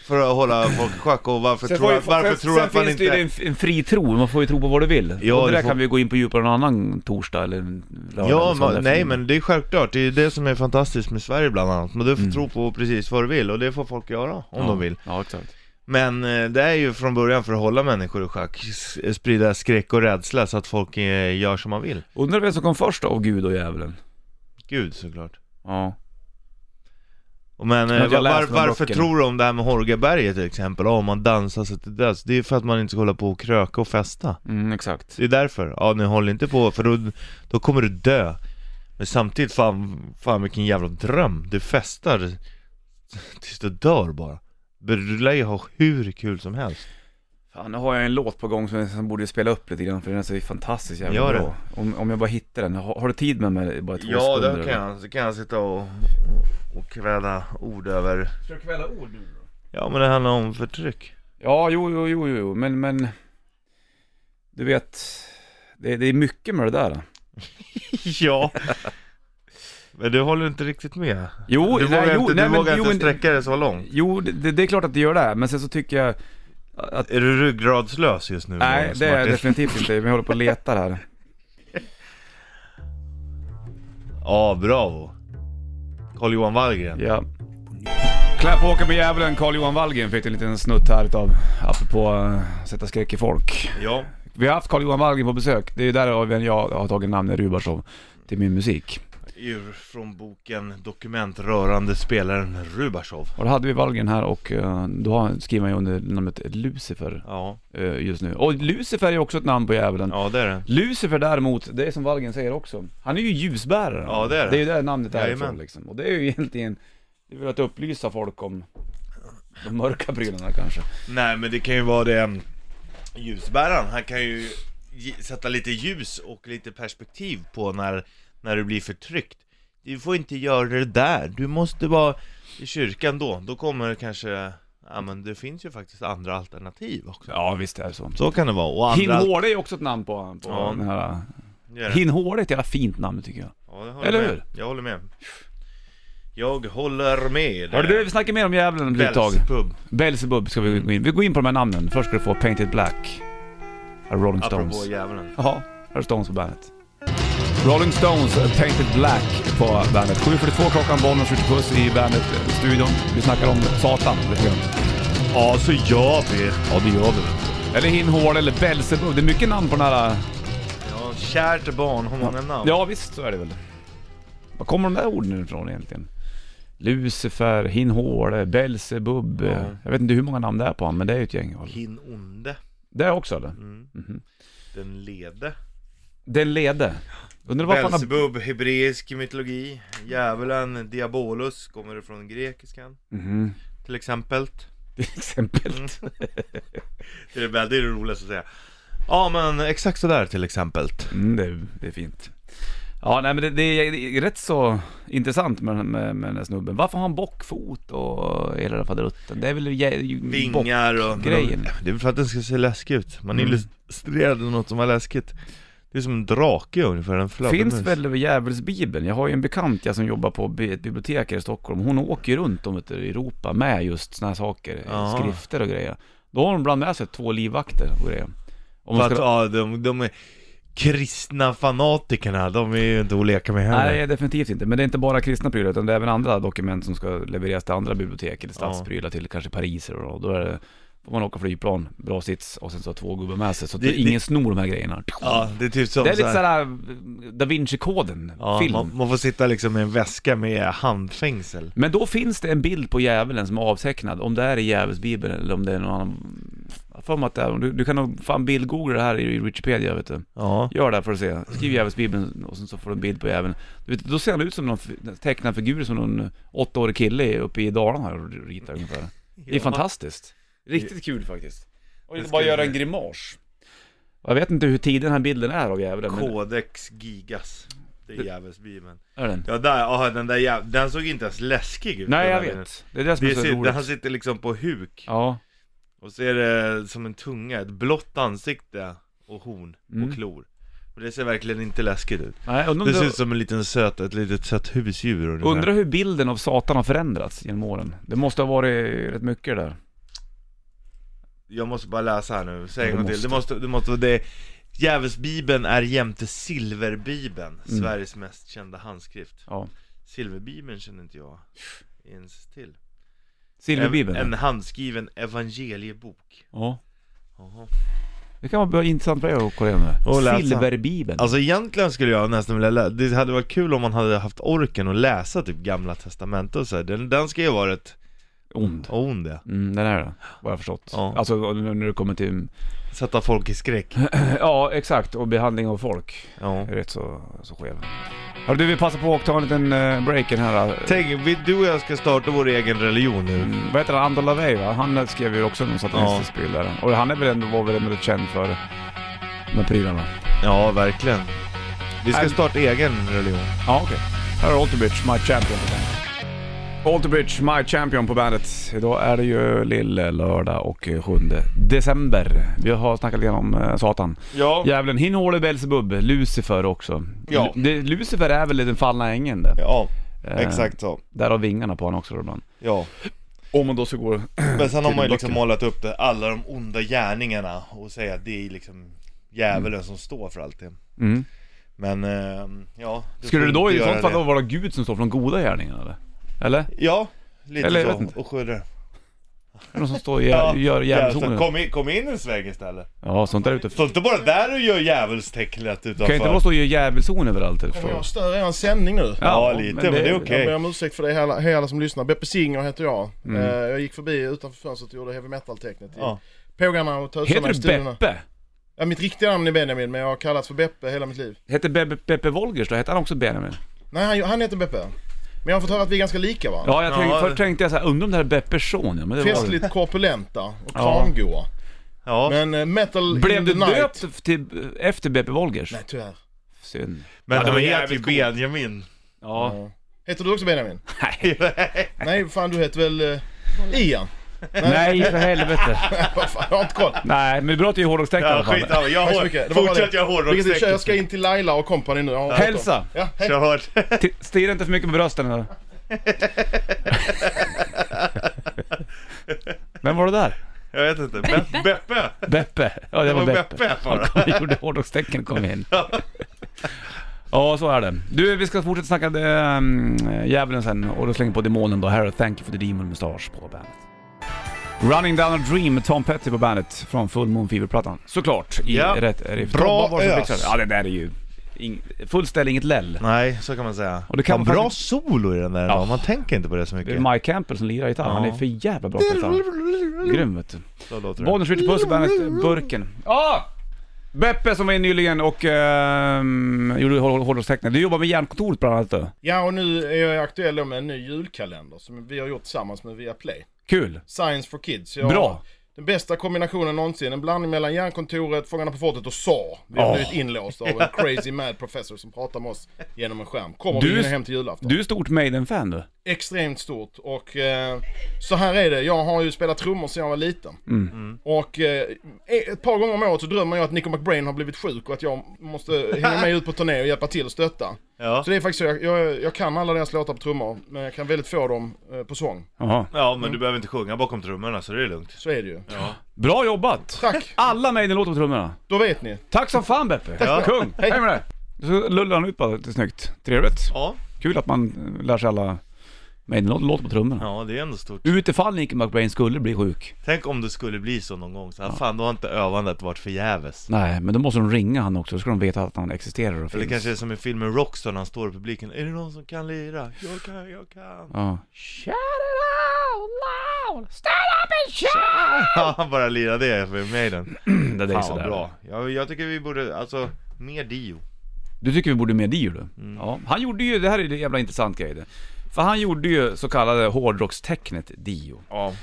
[SPEAKER 2] För att hålla folk i schack och varför tror jag, varför
[SPEAKER 1] sen,
[SPEAKER 2] tror jag att man
[SPEAKER 1] finns
[SPEAKER 2] inte...
[SPEAKER 1] det ju en, en fri tro, man får ju tro på vad du vill.
[SPEAKER 2] Ja,
[SPEAKER 1] Ja, och det
[SPEAKER 2] du
[SPEAKER 1] där
[SPEAKER 2] får-
[SPEAKER 1] kan vi ju gå in på djupare en annan torsdag eller en lördag
[SPEAKER 2] Ja,
[SPEAKER 1] eller söndag
[SPEAKER 2] man, nej
[SPEAKER 1] eftermiddag.
[SPEAKER 2] men det är självklart, det är ju det som är fantastiskt med Sverige bland annat. Men du får tro på precis vad du vill och det får folk göra om
[SPEAKER 1] Mm. ja.
[SPEAKER 2] de vill.
[SPEAKER 1] Ja, exakt.
[SPEAKER 2] Men eh, det är ju från början för att hålla människor i schack, s- sprida skräck och rädsla så att folk eh, gör som man vill.
[SPEAKER 1] Undrar vem som kom först av Gud och djävulen?
[SPEAKER 2] Gud såklart.
[SPEAKER 1] Ja.
[SPEAKER 2] Och Men
[SPEAKER 1] Jag har
[SPEAKER 2] eh,
[SPEAKER 1] inte
[SPEAKER 2] var, var,
[SPEAKER 1] läst de
[SPEAKER 2] varför
[SPEAKER 1] böckerna.
[SPEAKER 2] tror du om det här med Horgaberget till exempel, Ja, om man dansar sig till döds? Det är ju för att man inte ska hålla på och kröka och festa.
[SPEAKER 1] Mm, exakt.
[SPEAKER 2] Det är därför. Ja, ni håller inte på, för då, då kommer du dö. Men samtidigt, fan, fan vilken jävla dröm. Du festar tills du dör bara. Du lär ju ha hur kul som helst.
[SPEAKER 1] Fan, nu har jag en låt på gång som jag som borde spela upp lite grann för den är så fantastiskt jävla
[SPEAKER 2] Gör det.
[SPEAKER 1] bra. Om, om jag bara hittar den. Har, har du tid med mig bara två
[SPEAKER 2] Ja,
[SPEAKER 1] sekunder?
[SPEAKER 2] då kan jag, så kan jag sitta och, och kväda ord över
[SPEAKER 1] Ska du kvälla ord nu
[SPEAKER 2] Ja men det handlar om förtryck
[SPEAKER 1] Ja, jo, jo, jo, jo, men, men du vet, det, det är mycket med det där.
[SPEAKER 2] Ja Men du håller inte riktigt med?
[SPEAKER 1] Jo,
[SPEAKER 2] Du vågar inte, du vågar
[SPEAKER 1] jo,
[SPEAKER 2] inte
[SPEAKER 1] men-
[SPEAKER 2] sträcka dig så långt?
[SPEAKER 1] Jo, det, det är klart att det gör det, men sen så tycker jag att,
[SPEAKER 2] Är du ryggradslös just nu?
[SPEAKER 1] nej,
[SPEAKER 2] Martin?
[SPEAKER 1] det är jag definitivt inte, men jag håller på och letar här.
[SPEAKER 2] Ja, bravo Carl-Johan Wallgren
[SPEAKER 1] Ja. Klä på åka med djävulen, Carl-Johan Wallgren fick en liten snutt här utav, apropå eh, sätta skräck i folk.
[SPEAKER 2] Ja,
[SPEAKER 1] Vi har haft Carl-Johan Wallgren på besök, det är där även jag har tagit namnet Rubarsov till min musik.
[SPEAKER 2] ur från boken Dokument rörande spelaren Rubashov
[SPEAKER 1] Och då hade vi Wallgren här och eh, då har- skriver han ju under namnet Lucifer.
[SPEAKER 2] Ja,
[SPEAKER 1] eh, just nu. Och Lucifer är också ett namn på djävulen.
[SPEAKER 2] ja det är det
[SPEAKER 1] Lucifer däremot, det är som Valgen säger också, han är ju ljusbärare.
[SPEAKER 2] Ja, det är det.
[SPEAKER 1] Det är ju där namnet är ifrån
[SPEAKER 2] Jajamän.
[SPEAKER 1] liksom. Och det är ju egentligen, det är väl att upplysa folk om de mörka prylarna kanske.
[SPEAKER 2] Nej men det kan ju vara det mm, Ljusbäraren, han kan ju ge- sätta lite ljus och lite perspektiv på när, när du blir förtryckt Du får inte göra det där, du måste vara i kyrkan då, då kommer det kanske Ja men det finns ju faktiskt andra alternativ också
[SPEAKER 1] Ja, visst är det så.
[SPEAKER 2] Så kan det vara, och
[SPEAKER 1] Hin
[SPEAKER 2] andra
[SPEAKER 1] Hårde är också ett namn på, på
[SPEAKER 2] Ja.
[SPEAKER 1] den här...
[SPEAKER 2] Det är det.
[SPEAKER 1] Hin Hårde är ett jävla fint namn tycker jag.
[SPEAKER 2] Ja, det håller
[SPEAKER 1] Eller
[SPEAKER 2] med.
[SPEAKER 1] hur?
[SPEAKER 2] Jag håller med Jag håller med
[SPEAKER 1] Hörru du, vi snackar mer om djävulen om ett tag.
[SPEAKER 2] Bellspub,
[SPEAKER 1] Belzebub ska
[SPEAKER 2] Mm.
[SPEAKER 1] vi gå in Vi går in på de här namnen. Först ska du få Painted Black. av Rolling Stones.
[SPEAKER 2] apropå djävulen
[SPEAKER 1] Ja, här är Stones på bandet. Rolling Stones, A Painted Black på bandet. 7.42 klockan, Bollnäs skjuter puss i bandet-studion. Vi snackar om Satan lite grann.
[SPEAKER 2] Ja så gör vi
[SPEAKER 1] Ja, det gör vi. Eller Hin Hård eller Belzebub. Det är mycket namn på den här... eh,
[SPEAKER 2] Ja, kärt barn har många namn
[SPEAKER 1] Ja, visst så är det väl. Var kommer de där orden ifrån egentligen? Lucifer, Hin Hårde, Belzebub.
[SPEAKER 2] Ja.
[SPEAKER 1] Jag vet inte hur många namn det är på honom, men det är ju ett gäng.
[SPEAKER 2] Hin onde
[SPEAKER 1] Det är också eller?
[SPEAKER 2] Mm.
[SPEAKER 1] Mhm.
[SPEAKER 2] Den lede.
[SPEAKER 1] Den lede. Undrar vad fan...
[SPEAKER 2] Belsebub, hebreisk mytologi. Djävulen, diabolus, kommer det från grekiskan.
[SPEAKER 1] Mhm.
[SPEAKER 2] Till exempel.
[SPEAKER 1] Till exempel.
[SPEAKER 2] Mm. det, är väl, det är det roligaste att säga. Ja men exakt sådär till exempel.
[SPEAKER 1] Mm, det, det är fint. Ja, nej men det, det, är, det är rätt så intressant med, med, med den här snubben. Varför har han bockfot och hela den faderutten? Det är väl jä- ju- bock-
[SPEAKER 2] Vingar och...
[SPEAKER 1] grejen.
[SPEAKER 2] Det är väl för att den ska se läskig ut. Man
[SPEAKER 1] Mm.
[SPEAKER 2] illustrerade något som var läskigt. Det är som en drake ungefär, en fladdermus.
[SPEAKER 1] Finns väl över djävulsbibeln? Jag har ju en bekant jag som jobbar på bi- ett bibliotek här i Stockholm. Hon åker ju runt om vet du, i Europa med just såna här saker,
[SPEAKER 2] Ja.
[SPEAKER 1] skrifter och grejer. Då har hon bland med sig två livvakter och grejer. Om
[SPEAKER 2] För
[SPEAKER 1] man
[SPEAKER 2] att,
[SPEAKER 1] ska...
[SPEAKER 2] ja, de, de är kristna fanatikerna, de är ju inte att leka med heller.
[SPEAKER 1] Nej, definitivt inte. Men det är inte bara kristna prylar utan det är även andra dokument som ska levereras till andra bibliotek eller stadsprylar till kanske Paris eller vad. Då är det, får man åka flygplan, bra sits och sen så har två gubbar med sig så att
[SPEAKER 2] Det-
[SPEAKER 1] ingen
[SPEAKER 2] det-
[SPEAKER 1] snor de här grejerna.
[SPEAKER 2] Ja, det är typ som
[SPEAKER 1] det är lite
[SPEAKER 2] så här-
[SPEAKER 1] såhär Da Vinci-koden,
[SPEAKER 2] Ja,
[SPEAKER 1] film.
[SPEAKER 2] Man, man får sitta liksom med en väska med handfängsel.
[SPEAKER 1] Men då finns det en bild på djävulen som är avtecknad, om det är i djävulsbibeln eller om det är någon annan... Jag har för mig att det är, du, du kan nog fan bildgoogla det här i Wikipedia vet du.
[SPEAKER 2] Ja.
[SPEAKER 1] Gör det här för att se. Skriv djävulsbibeln och sen så får du en bild på djävulen. Du vet, då ser han ut som någon f- tecknad figur som någon åttaårig kille uppe i Dalarna här och ritar ungefär. Det är fantastiskt. Riktigt kul faktiskt. Och inte bara göra en grimas. Jag vet inte hur tidig den här bilden är av djävulen. Men...
[SPEAKER 2] Codex Gigas. Det är djävulsbibeln.
[SPEAKER 1] Är den?
[SPEAKER 2] Ja, där, aha, den där jäv... Den såg inte ens läskig ut.
[SPEAKER 1] Nej,
[SPEAKER 2] den
[SPEAKER 1] jag
[SPEAKER 2] där bilden.
[SPEAKER 1] vet. Det är det som är
[SPEAKER 2] Det
[SPEAKER 1] så
[SPEAKER 2] ser, där han
[SPEAKER 1] roligt.
[SPEAKER 2] sitter liksom på huk.
[SPEAKER 1] Ja.
[SPEAKER 2] Och så är det som en tunga, ett blått ansikte och horn
[SPEAKER 1] Mm.
[SPEAKER 2] och klor. Och det ser verkligen inte läskigt ut.
[SPEAKER 1] Nej, undrar,
[SPEAKER 2] Det ser
[SPEAKER 1] om
[SPEAKER 2] ut som en liten söt, ett litet sött husdjur
[SPEAKER 1] du-
[SPEAKER 2] ungefär.
[SPEAKER 1] undrar hur bilden av Satan har förändrats genom åren. Det måste ha varit rätt mycket det där.
[SPEAKER 2] Jag måste bara läsa här nu, säg
[SPEAKER 1] Ja,
[SPEAKER 2] en
[SPEAKER 1] du
[SPEAKER 2] gång till. Det måste, det måste vara det. Djävulsbibeln är jämte Silverbibeln,
[SPEAKER 1] Mm.
[SPEAKER 2] Sveriges mest kända handskrift.
[SPEAKER 1] Ja.
[SPEAKER 2] Silverbibeln känner inte jag ens till.
[SPEAKER 1] Silverbibeln.
[SPEAKER 2] En, en handskriven evangeliebok.
[SPEAKER 1] Ja.
[SPEAKER 2] Jaha.
[SPEAKER 1] Det kan vara intressant för dig att kolla igenom
[SPEAKER 2] Och
[SPEAKER 1] det.
[SPEAKER 2] läsa.
[SPEAKER 1] Silverbibeln.
[SPEAKER 2] Alltså egentligen skulle jag nästan vilja läsa, det hade varit kul om man hade haft orken att läsa typ gamla testamentet och så här. Den, den ska ju vara rätt
[SPEAKER 1] Ond.
[SPEAKER 2] ond ja.
[SPEAKER 1] Mm, den är det, vad jag har förstått.
[SPEAKER 2] Ja.
[SPEAKER 1] Alltså när det kommer till...
[SPEAKER 2] Sätta folk i skräck.
[SPEAKER 1] Ja, exakt. Och behandling av folk.
[SPEAKER 2] Ja.
[SPEAKER 1] är rätt så, så skev. Hörru du, vi passar på att ta en liten eh, breaken här. eh.
[SPEAKER 2] Tänk, vi, du och jag ska starta vår egen religion nu.
[SPEAKER 1] Mm, vad heter han? Ander LaVey va? Han eh, skrev ju också någon satanistisk ja. där. Och han är väl ändå, var väl ändå rätt känd för de här prylarna.
[SPEAKER 2] Ja, verkligen. Vi ska
[SPEAKER 1] Nej.
[SPEAKER 2] starta egen religion.
[SPEAKER 1] Ja, okej. Här har Alterbridge, My Champion på bandet. Alterbridge, My Champion på bandet. Idag är det ju lille lördag och eh, 7 december. Vi har snackat lite om eh, Satan.
[SPEAKER 2] Ja.
[SPEAKER 1] Djävulen, Hinole, Belzebub, Lucifer också.
[SPEAKER 2] Ja.
[SPEAKER 1] Lu- det, Lucifer är väl den fallna ängeln det.
[SPEAKER 2] Ja,
[SPEAKER 1] Eh,
[SPEAKER 2] exakt så.
[SPEAKER 1] Där har vingarna på honom också då ibland.
[SPEAKER 2] Ja.
[SPEAKER 1] Om man då ska gå
[SPEAKER 2] Men sen har man ju
[SPEAKER 1] Till
[SPEAKER 2] liksom
[SPEAKER 1] böcker.
[SPEAKER 2] målat upp det, alla de onda gärningarna och säga att det är liksom djävulen som står för allt det.
[SPEAKER 1] Mm.
[SPEAKER 2] Men ehm, ja... du
[SPEAKER 1] Skulle
[SPEAKER 2] får
[SPEAKER 1] det då
[SPEAKER 2] inte
[SPEAKER 1] i
[SPEAKER 2] göra
[SPEAKER 1] sånt fall
[SPEAKER 2] det.
[SPEAKER 1] då vara Gud som står för de goda gärningarna eller? Eller? Är
[SPEAKER 2] Ja, lite
[SPEAKER 1] Eller jag vet inte.
[SPEAKER 2] så. Och skjuter.
[SPEAKER 1] det någon som står och gör, gör
[SPEAKER 2] jävlar,
[SPEAKER 1] djävulshornet?
[SPEAKER 2] kom, in, kom in en sväng istället.
[SPEAKER 1] Ja, sånt där ute.
[SPEAKER 2] Stå inte bara där och gör djävulstecknet utanför.
[SPEAKER 1] Kan ju inte bara stå och göra djävulshorn överallt? eller
[SPEAKER 5] Kommer
[SPEAKER 1] förstår du?
[SPEAKER 5] jag störa er sändning nu?
[SPEAKER 2] Ja, lite, men det är okej.
[SPEAKER 5] Jag ber om ursäkt för det hela, alla som lyssnar. Beppe Singer heter jag.
[SPEAKER 1] Mm.
[SPEAKER 5] Eh, jag gick förbi utanför fönstret och gjorde heavy metal-tecknet.
[SPEAKER 2] Ja.
[SPEAKER 5] Ja. Pågarna och tösarna
[SPEAKER 1] Heter
[SPEAKER 5] i
[SPEAKER 1] du
[SPEAKER 5] studion.
[SPEAKER 1] Beppe?
[SPEAKER 5] Ja, mitt riktiga namn är Benjamin, men jag har kallats för Beppe hela mitt liv.
[SPEAKER 1] Hette Beppe, Beppe Wolgers då? Hette han också Benjamin?
[SPEAKER 5] Nej, han, han heter Beppe. Men jag har fått höra att vi är ganska lika va?
[SPEAKER 1] Ja, jag tänkte,
[SPEAKER 2] Ja, det-
[SPEAKER 1] först tänkte jag såhär, undrar om det här är Beppes son? Ja, men det var-
[SPEAKER 5] Festligt korpulenta och
[SPEAKER 1] Ja.
[SPEAKER 5] kramgoa.
[SPEAKER 2] Ja, men,
[SPEAKER 5] Men eh, metal
[SPEAKER 1] Blev
[SPEAKER 5] in
[SPEAKER 1] du
[SPEAKER 5] the night.
[SPEAKER 1] döpt till, efter Beppe Wolgers?
[SPEAKER 5] Nej, tyvärr.
[SPEAKER 1] Synd.
[SPEAKER 2] men
[SPEAKER 1] det var
[SPEAKER 2] han heter ju
[SPEAKER 1] jävligt coolt.
[SPEAKER 2] Benjamin.
[SPEAKER 1] Ja.
[SPEAKER 5] Heter du också Benjamin?
[SPEAKER 1] Nej.
[SPEAKER 5] Nej, fan du heter väl eh, Ian?
[SPEAKER 1] Nej, för helvete.
[SPEAKER 5] Vad fan, jag har inte koll.
[SPEAKER 1] Nej, men det är bra att du är hårdrockstecknare i
[SPEAKER 2] Ja,
[SPEAKER 1] alla fall.
[SPEAKER 2] skitsamma. Jag
[SPEAKER 5] Tack så
[SPEAKER 2] har,
[SPEAKER 5] mycket. Det var bara
[SPEAKER 2] fortsätt
[SPEAKER 5] det.
[SPEAKER 2] göra
[SPEAKER 5] Vilket i och för sig, jag
[SPEAKER 2] hårdrockssäcken.
[SPEAKER 5] ska in till Laila och kompani nu. Jag har hört dem.
[SPEAKER 1] Hälsa!
[SPEAKER 5] Ja, hej.
[SPEAKER 2] Kör hårt.
[SPEAKER 1] T- Stirra inte för mycket på brösten eller? Vem var det där?
[SPEAKER 2] Jag vet inte. Be- Beppe.
[SPEAKER 1] Beppe? Ja det var
[SPEAKER 2] var
[SPEAKER 1] Beppe.
[SPEAKER 2] Beppe bara.
[SPEAKER 1] Han kom, gjorde hårdrockstecken och kom in. Ja så är det. Du vi ska fortsätta snacka um, djävulen sen och då slänger vi på demonen då. Här är Thank You For The Demon Mustache på bandet. Running Down A Dream med Tom Petty på bandet från Full Moon Fever-plattan. Såklart i
[SPEAKER 2] Ja.
[SPEAKER 1] rätt riff.
[SPEAKER 2] Bra
[SPEAKER 1] Vad var det som
[SPEAKER 2] ös.
[SPEAKER 1] fixade det? Ja det där är ju ing, full ställ, inget läll.
[SPEAKER 2] Nej, så kan man säga.
[SPEAKER 1] Och det kan
[SPEAKER 2] Fan,
[SPEAKER 1] man
[SPEAKER 2] bra
[SPEAKER 1] faktiskt-
[SPEAKER 2] solo i den där
[SPEAKER 1] Ja.
[SPEAKER 2] ja. Man tänker inte på det så
[SPEAKER 1] Det
[SPEAKER 2] mycket.
[SPEAKER 1] är Mike Campbell som lirar gitarr. Han är
[SPEAKER 2] Ja.
[SPEAKER 1] för jävla bra på gitarr. Grym vet du.
[SPEAKER 2] Så låter det.
[SPEAKER 1] Bonus Richard Puss och bandet Burken. Ja! Beppe som var in nyligen och ehm, gjorde hår- hårdrockstecknet. Du jobbar med Hjärnkontoret bland annat du.
[SPEAKER 5] Ja, och nu är jag aktuell då med en ny julkalender som vi har gjort tillsammans med Viaplay.
[SPEAKER 1] Kul!
[SPEAKER 5] Science for Kids. Jag
[SPEAKER 1] Bra!
[SPEAKER 5] Den bästa kombinationen någonsin. En blandning mellan Hjärnkontoret, Fångarna på fortet och SA. Vi har
[SPEAKER 1] Åh.
[SPEAKER 5] blivit inlåsta av en crazy mad professor som pratar med oss genom en skärm. Kommer
[SPEAKER 1] Du
[SPEAKER 5] du
[SPEAKER 1] är-
[SPEAKER 5] hinna hem till julafton.
[SPEAKER 1] Du är stort Maiden-fan du.
[SPEAKER 5] Extremt stort och eh, så här är det. Jag har ju spelat trummor sedan jag var liten.
[SPEAKER 1] Mm.
[SPEAKER 5] Och eh, ett par gånger om året så drömmer jag att Nico McBrain har blivit sjuk och att jag måste hänga med ut på turné och hjälpa till och stötta.
[SPEAKER 2] Ja.
[SPEAKER 5] Så Alltså, det är faktiskt så, jag, jag, jag kan alla deras låtar på trummor, men jag kan väldigt få dem eh, på sång.
[SPEAKER 1] Jaha.
[SPEAKER 2] ja, men du behöver inte sjunga bakom trummorna så det är lugnt.
[SPEAKER 5] Så är det ju.
[SPEAKER 1] Bra jobbat!
[SPEAKER 5] Tack,
[SPEAKER 1] Alla Maiden-låtar på trummorna.
[SPEAKER 5] då vet ni.
[SPEAKER 1] Tack som fan Beppe!
[SPEAKER 2] Ja.
[SPEAKER 1] Kung! Hej med dig! Så lullar han ut bara lite snyggt. Trevligt.
[SPEAKER 2] Ja,
[SPEAKER 1] Kul att man eh, lär sig alla Maiden-låtar på trummorna.
[SPEAKER 2] ja det är ändå stort.
[SPEAKER 1] Utifall Nicky McBrain skulle bli sjuk.
[SPEAKER 2] Tänk om det skulle bli så någon gång, så här, fan då har inte övandet varit förgäves.
[SPEAKER 1] Nej, men då måste de ringa han också. Då ska de veta att han existerar och
[SPEAKER 2] Eller
[SPEAKER 1] finns.
[SPEAKER 2] kanske är som i filmen Rockstar när han står i publiken, är det någon som kan lira? Jag kan, jag kan.
[SPEAKER 1] Ja.
[SPEAKER 2] Ja, han bara lirar det för Maiden.
[SPEAKER 1] Det där är
[SPEAKER 2] Fan
[SPEAKER 1] sådär.
[SPEAKER 2] vad bra. Jag, jag tycker vi borde, alltså, mer Dio.
[SPEAKER 1] Du tycker vi borde med Dio du? Ja. Han gjorde ju, det här är en jävla intressant grej det. För han gjorde ju så kallade hårdrockstecknet Dio.
[SPEAKER 2] Ja.